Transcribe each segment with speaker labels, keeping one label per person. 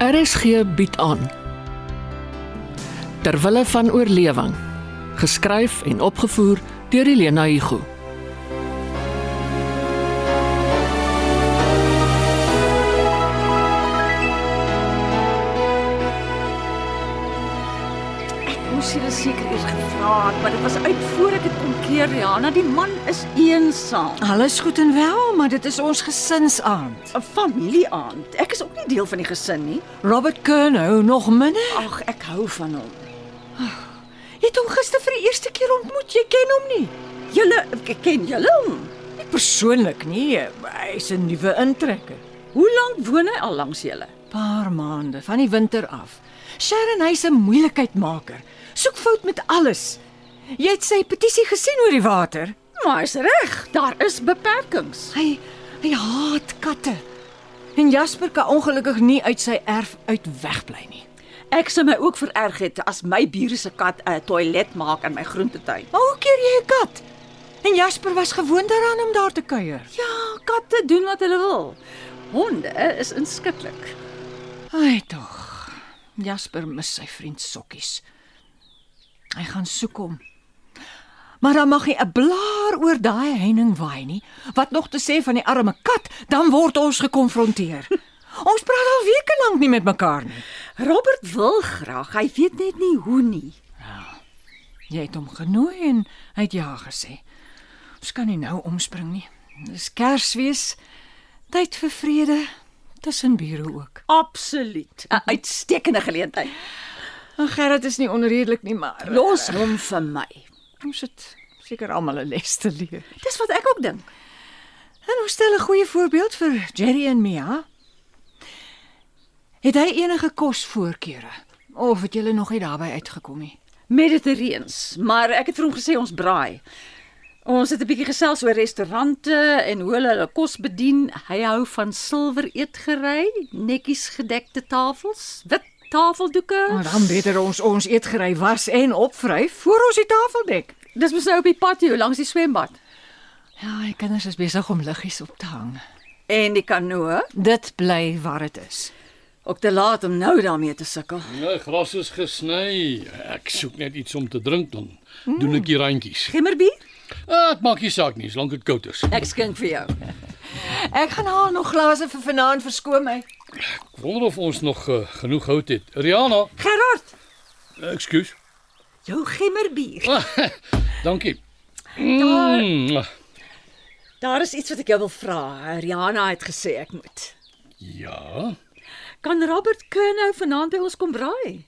Speaker 1: RSG bied aan Terwille van oorlewing geskryf en opgevoer deur Elena Igu
Speaker 2: Ek moes julle seker eers gevra het, maar dit was uit voor ek dit kon keer, Rihanna. Die man is eensaam.
Speaker 3: Alles goed en wel, maar dit is ons gesinsaand.
Speaker 2: 'n Familieaand. Ek is ook nie deel van die gesin nie.
Speaker 3: Robert Kern hou nog minder.
Speaker 2: Ag, ek hou van hom.
Speaker 3: Jy het hom gister vir die eerste keer ontmoet. Jy ken hom nie.
Speaker 2: Julle ek ken julle hom.
Speaker 3: Nie persoonlik nie. Hy's 'n nuwe intrekker.
Speaker 2: Hoe lank woon hy al langs julle?
Speaker 3: Paar maande van die winter af. Sharon, hy's 'n moeilikheidmaker. Soek fout met alles. Jy het sy petisie gesien oor die water.
Speaker 2: Maar is reg, daar is beperkings.
Speaker 3: Hy hy haat katte. En Jasper kan ongelukkig nie uit sy erf uit wegbly nie.
Speaker 2: Ek sou my ook vererg het as my bure se kat 'n toilet maak in my groentetuin.
Speaker 3: Maar hoe keer jy 'n kat? En Jasper was gewoond daaraan om daar te kuier.
Speaker 2: Ja, katte doen wat hulle wil. Honde is inskikkelik.
Speaker 3: Ai tog. Jasper mis sy vriend Sokkies. Hy gaan soek hom. Maar dan mag hy 'n blaar oor daai heining waai nie. Wat nog te sê van die arme kat, dan word ons gekonfronteer. ons praat al weke lank nie met mekaar nie.
Speaker 2: Robert wil graag, hy weet net nie hoe nie.
Speaker 3: Jy het hom genooi en hy het ja gesê. Ons kan nie nou omspring nie. Dis Kersfees. Tyd vir vrede tussen bure ook.
Speaker 2: Absoluut. 'n Uitstekende geleentheid.
Speaker 3: Ag Gerrit is nie onredelik nie, maar
Speaker 2: Los hom vir my.
Speaker 3: ons het seker almal 'n les te leer.
Speaker 2: Dis wat ek ook dink.
Speaker 3: En ons stel 'n goeie voorbeeld vir Jerry en Mia. Het hy enige kosvoorkeure of het julle nog nie daarby uitgekom nie?
Speaker 2: Mediterreens, maar ek het vir hom gesê ons braai. Ons het 'n bietjie gesels oor restaurante en hoe hulle hulle kos bedien. Hy hou van silwer eetgerei, netjies gedekte tafels, wit tafeldoeke.
Speaker 3: Maar dan beter ons ons eetgerei was en opvryf voor ons die tafel dek.
Speaker 2: Dis mos nou op die patio langs die swembad.
Speaker 3: Ja, die kinders is besig om liggies op te hang.
Speaker 2: En die kanoe,
Speaker 3: Dit bly waar dit is.
Speaker 2: ook te laat om nou daarmee te sukkel.
Speaker 4: Nee, gras is gesny. Ek soek net iets om te drink dan. Doen ek die randjies.
Speaker 2: Gimmerbier?
Speaker 4: Ah, dit maak nie saak nie, solank dit koud is.
Speaker 2: Ek skink vir jou.
Speaker 3: Ek gaan haal nog glase vir vanaand verskoon my.
Speaker 4: Ek wonder of ons nog uh, genoeg hout het. Rihanna,
Speaker 2: Gerard,
Speaker 4: ekskuus.
Speaker 2: jou gimmerbier.
Speaker 4: Dankie. Mm.
Speaker 2: Daar is iets wat ek jou wil vra. Rihanna het gesê ek moet.
Speaker 4: Ja,
Speaker 2: Kan Robert Kernou vanaand by ons kom braai?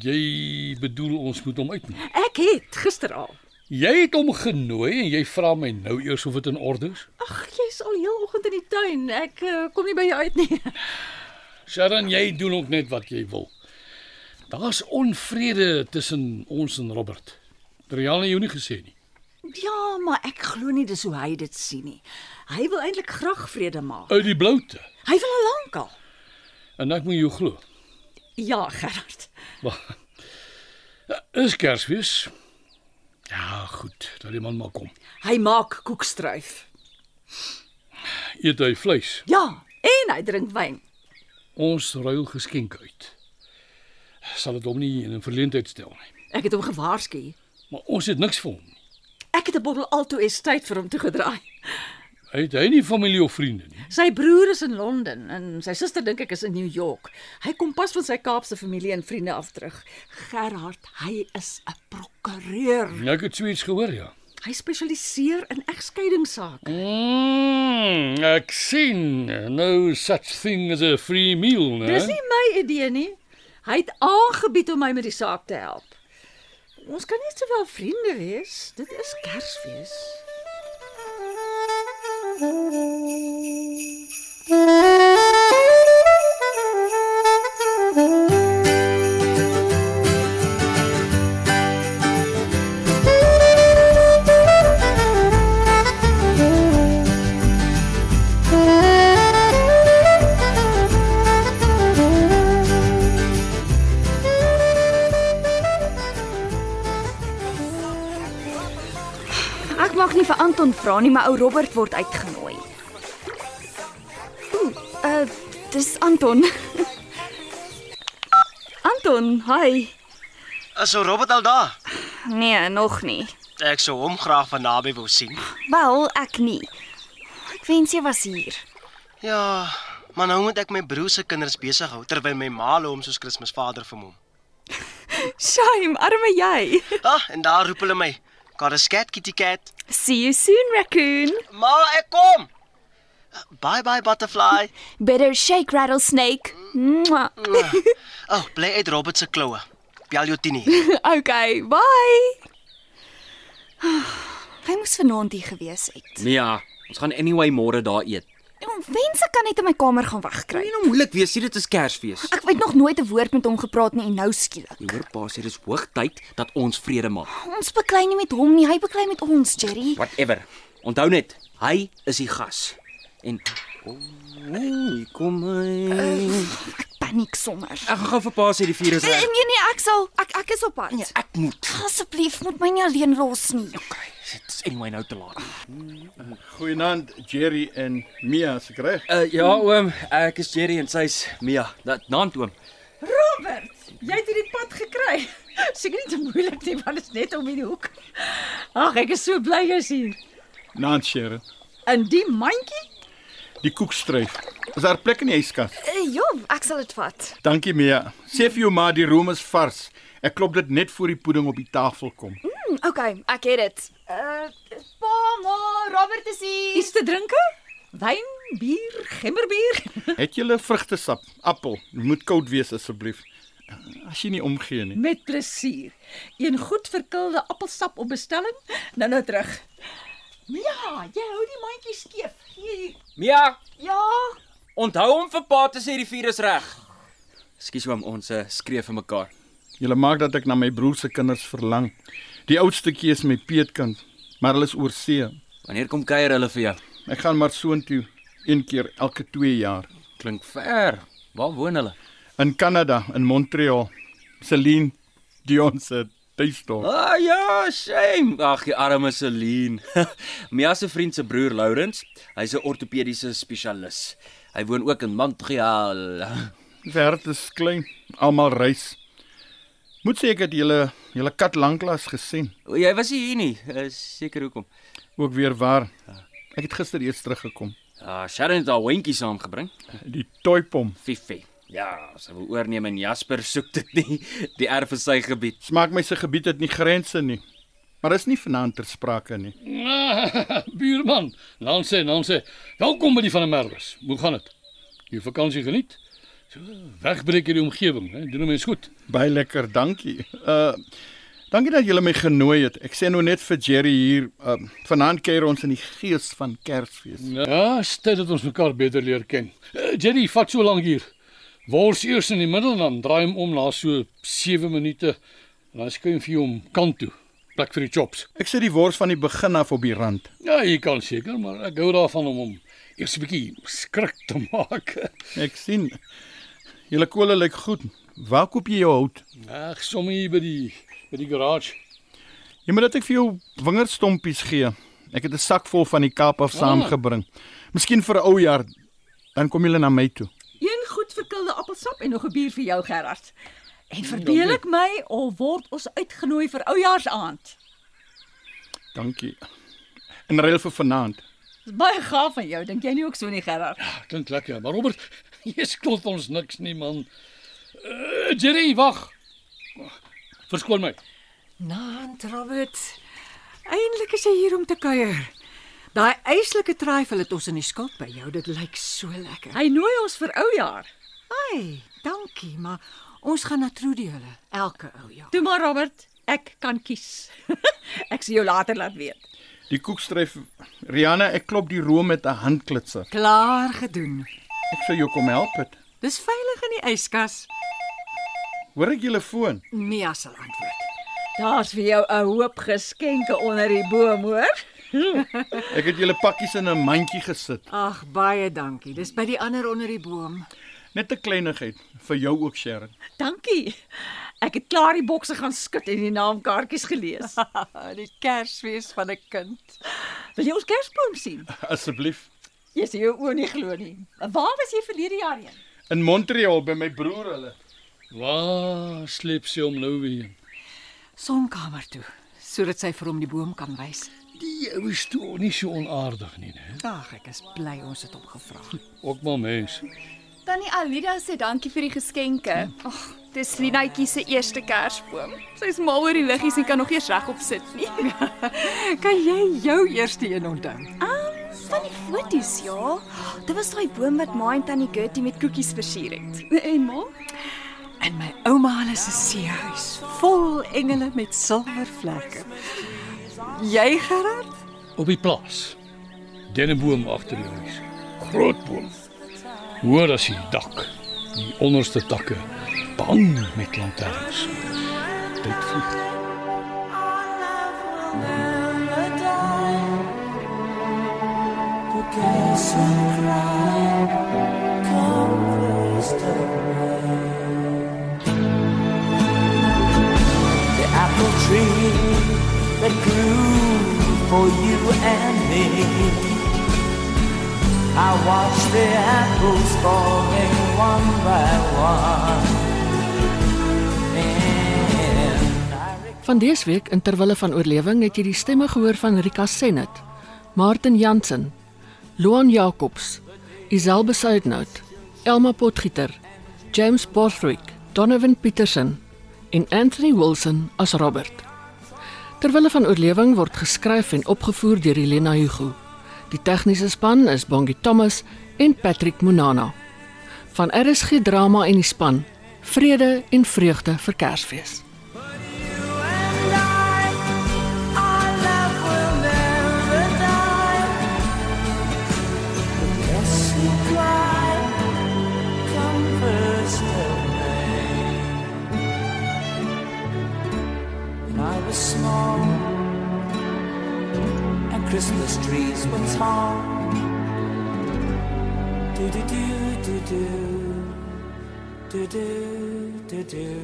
Speaker 4: jy bedoel ons moet hom uitnooi.
Speaker 2: Ek het gister al.
Speaker 4: Jy het hom genooi en jy vra my nou eers of dit in orde is?
Speaker 2: Ag, jy's al heel oggend in die tuin. Ek uh, kom nie by jou uit nie.
Speaker 4: Sharon, jy doen ook net wat jy wil. Daar's onvrede tussen ons en Robert. Rihanna het jou nie gesê nie.
Speaker 2: Ja, maar ek glo nie dis hoe hy dit sien nie. Hy wil eintlik graag vrede maak.
Speaker 4: Uit die bloute.
Speaker 2: Hy wil al lank al.
Speaker 4: En ek moet jou glo.
Speaker 2: Ja, Gerard.
Speaker 4: Wag. Is Kersfees? Ja, goed, dat die man maar kom.
Speaker 2: Hy maak koekstruif.
Speaker 4: Eet hy vleis.
Speaker 2: Ja, en hy drink wyn.
Speaker 4: Ons ruil geskenke uit. Sal dit hom nie in 'n verleentheid stel nie.
Speaker 2: Ek het hom gewaarsku.
Speaker 4: Maar ons het niks vir hom nie.
Speaker 2: Ek het 'n bottel Alto Estate vir hom toegedraai.
Speaker 4: Hy het hy nie familie of vriende nie.
Speaker 2: Sy broer is in Londen en sy suster dink ek is in New York. Hy kom pas van sy Kaapse familie en vriende af terug. Gerhard, hy is 'n prokureur.
Speaker 4: En Ek het so iets gehoor, ja.
Speaker 2: Hy spesialiseer in egskeidingsake.
Speaker 4: Mm, ek sien no such thing as a free meal, né?
Speaker 2: Dis nie my idee nie. Hy het aangebied om my met die saak te help. Ons kan net sowel vriende wees. Dit is Kersfees.
Speaker 5: Ek mag nie vir Anton vra nie, maar ou Robert word uitgenooi. eh, Ooh, uh dis Anton. Anton, hi.
Speaker 6: Is ou Robert al daar?
Speaker 5: Nee, nog nie.
Speaker 6: Ek sou hom graag van naby wou sien.
Speaker 5: Wel, ek nie. Ek wens jy was hier.
Speaker 6: Ja, maar nou moet ek my broer se kinders besig hou terwyl my ma hulle hom soos Kersvader vermom.
Speaker 5: Shame, arme jy.
Speaker 6: Ah, en daar roep hulle my. Got a scat kitty cat.
Speaker 5: See you soon, raccoon.
Speaker 6: Ma, ek kom. Bye bye butterfly.
Speaker 5: Better shake rattlesnake. Mwah.
Speaker 6: Oh, bly uit Robert se kloue. Bel jou Tini.
Speaker 5: Okay, bye. Hy moes vanaand hier gewees het.
Speaker 7: Nee ja, ons gaan anyway môre daar eet.
Speaker 5: Ons wense kan net in my kamer gaan wegkry.
Speaker 7: Moenie nou moeilik wees, sien dit is Kersfees.
Speaker 5: Ek het nog nooit 'n woord met hom gepraat nie en nou skielik.
Speaker 7: Jy hoor pa sê dis hoogtyd dat ons vrede maak.
Speaker 5: Ons beklei nie met hom nie, hy beklei met ons, Jerry.
Speaker 7: Whatever. Onthou net, hy is die gas. En o, oh, nee, kom hy.
Speaker 5: Paniek sommer.
Speaker 7: Ek gaan gou vir Eh, pa sê die vuur is
Speaker 5: Nee
Speaker 7: reg.
Speaker 5: nee, nee ek sal ek ek is op pad. Nee,
Speaker 7: Ek moet.
Speaker 5: asseblief moet my nie alleen los nie.
Speaker 7: Okay, dit is anyway nou te laat.
Speaker 8: Goeienaand Jerry en Mia se reg.
Speaker 7: Uh ja oom, ek is Jerry en sy's Mia. Dat naam oom.
Speaker 2: Robert, jy het hierdie pad gekry. Seker nie te moeilik nie, want dit is net om in die hoek. Ag, ek is so bly jy's hier.
Speaker 8: Naand Sharon.
Speaker 2: In die mandjie?
Speaker 8: Die koekstryf. Is daar plek in die yskas?
Speaker 5: Uh, ja, ek sal dit vat.
Speaker 8: Dankie Mia. Sê vir jou ma die room is vars. Ek klop dit net voor die pudding op die tafel kom.
Speaker 5: Hm, okay, ek het dit. Uh pa, ma, Robert is hier.
Speaker 2: Iets te drinke? Wyn, bier, gemmerbier?
Speaker 8: Het julle vrugtesap, appel. Moet koud wees asseblief. Eh, As jy nie omgee nie.
Speaker 2: Met plesier. Een goed verkilde appelsap op bestelling. Nou nou terug. Ja, jy hou die mandjie skeef. Hier.
Speaker 7: Mia,
Speaker 2: Ja,
Speaker 7: onthou om vir pa te sê die vuur is reg. Ekskuus oom, ons uh, skree vir mekaar.
Speaker 8: Julle maak dat ek na my broer se kinders verlang. Die oudstetjie is my peetkind, maar hulle is oorsee.
Speaker 7: Wanneer kom kuier hulle vir jou?
Speaker 8: Ek gaan maar soontoe een keer elke 2 jaar.
Speaker 7: Klink ver. Waar woon hulle?
Speaker 8: In Kanada, in Montreal. Celine Dion se tuisdorp.
Speaker 7: Ah ja, shame. Ag, die arme Celine. Mia se vriend se broer Lawrence, hy's 'n ortopediese spesialis. Hy woon ook in Montreal.
Speaker 8: Die wêreld is klein, almal reis. Moet sê ek het julle julle kat lanklaas gesien.
Speaker 7: O, jy was nie hier nie. Is seker hoekom.
Speaker 8: Ook weer waar. Ek het gister eers teruggekom.
Speaker 7: Ja, Sharon het haar hondjie saamgebring,
Speaker 8: Die toipom.
Speaker 7: Fifi. Ja, sy wil oorneem en Jasper soek dit nie. Die erf is sy gebied.
Speaker 8: Smaak my se gebied het nie grense nie. Maar is nie vanaand ter sprake nie.
Speaker 4: Ah, Buurman, dan sê, dan sê, welkom by die van der Merwes. Hoe gaan dit? Jou vakansie geniet? So, wegbreek hierdie omgewing, hè? Doen hom eens goed.
Speaker 8: Baie lekker, dankie. Uh Dankie dat julle my genooi het. Ek sê nou net vir Jerry hier, uh, vanaand kuier ons in die gees van Kersfees.
Speaker 4: Ja, stel dat ons mekaar beter leer ken. Uh, Jerry, vat so lank hier. Wors eers in die middel dan draai hom om na so 7 minute en dan skuif jy hom kant toe. Plek vir die chops.
Speaker 8: Ek sit die wors van die begin af op die rand.
Speaker 4: Ja, jy kan seker, maar ek hou daarvan om hom eers 'n bietjie skrik te maak.
Speaker 8: Ek sien julle kolle lyk goed. Waar koop jy jou hout?
Speaker 4: Ag, sommer hier by die by die garage.
Speaker 8: Jy moet dat Ja, ek vir jou wingerdstompies gee. Ek het 'n sak vol van die Kaap af saamgebring. Miskien vir 'n ou jaar. Dan kom julle na my toe.
Speaker 2: een goed verkilde appelsap en nog 'n bier vir jou Gerard. En verbeel ek my of word ons uitgenooi vir oujaarsaand?
Speaker 8: Dankie. En reël vir vanaand.
Speaker 2: Dis baie gaaf van jou, dink jy nie ook so nie Gerard?
Speaker 4: Klink lekker, maar Robert, jy skuld ons niks nie, man. Uh, Jerry, wag. Verskoon my.
Speaker 3: Naand Robert. Eindelik is jy hier om te kuier. Daai eislike trifle het ons in die skuld by jou. Dit lyk so lekker.
Speaker 2: Hy nooi ons vir oujaar.
Speaker 3: Ai, dankie, maar ons gaan na Trudy hulle elke ou jaar.
Speaker 2: Toe maar Robert, ek kan kies. ek sal jou later laat weet.
Speaker 8: Die koekstryf Rihanna, ek klop die room met 'n handklitser.
Speaker 3: Klaar gedoen.
Speaker 8: Ek sou jou kom help het.
Speaker 3: Dis veilig in die yskas.
Speaker 8: Hoor ek julle foon?
Speaker 3: Mia sal antwoord.
Speaker 2: Daar's vir jou 'n hoop geskenke onder die boom, hoor?
Speaker 8: Ek het julle pakkies in 'n mandjie gesit.
Speaker 3: Ag, baie dankie. Dis by die ander onder die boom.
Speaker 8: Net 'n kleinigheid vir jou ook, Sharon.
Speaker 2: Dankie. Ek het klaar die bokse gaan skud en die naamkaartjies gelees.
Speaker 3: die Kersfees van 'n kind.
Speaker 2: Wil jy ons kersboom sien?
Speaker 8: Asseblief.
Speaker 2: Jy sien jou oë nie glo nie. Waar was jy verlede jaar heen?
Speaker 8: In Montreal by my broer hulle.
Speaker 4: Waar sleep sy hom nou weer?
Speaker 3: Sonkamer toe sodat sy vir hom die boom kan wys.
Speaker 4: Die ou is toe nie so onaardig nie, né?
Speaker 3: Ag, ek is bly ons het hom gevra.
Speaker 4: Ook maar mens.
Speaker 5: Tannie Alida sê dankie vir die geskenke. Ag, dis Lienetjie se eerste Kersboom. Sy's mal oor die liggies en kan nog eers regop sit nie.
Speaker 3: Kan jy jou eerste een onthou?
Speaker 5: Van die foto's, ja. Dit was daai boom wat ma en tannie Gertie met koekies versier het. En ma?
Speaker 3: In my ouma hulle se seehuis, vol engele met silwer vlekke. Jy Gerard?
Speaker 4: Op die plaas. Denneboom agter die huis. Groot boom. Hoor as die dak. Die onderste takke bang met lanterns. Dit vlieg.
Speaker 9: the apple tree that grew for you and me. I watched the apples falling one by one. And
Speaker 1: Van dese week in terwille van oorlewing het jy die stemme gehoor van Rika Senet, Martin Jansen, Loan Jacobs, Isel Besuidnout, Elma Potgieter, James Borthwick, Donovan Petersen en Anthony Wilson as Robert. Terwille van oorlewing word geskryf en opgevoer deur Helena Hugo. Die tegniese span is Bongie Thomas en Patrick Monana. Van RSG Drama en die span Vrede en vreugde vir Kersfees.
Speaker 9: our love will never die. Yes, you cry, come first of May. When I was small, and Christmas trees were tall. Do do do do do do do do do.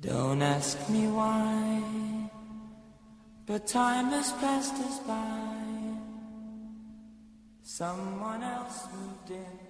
Speaker 9: Don't ask me why, but time has passed us by. Someone else moved in.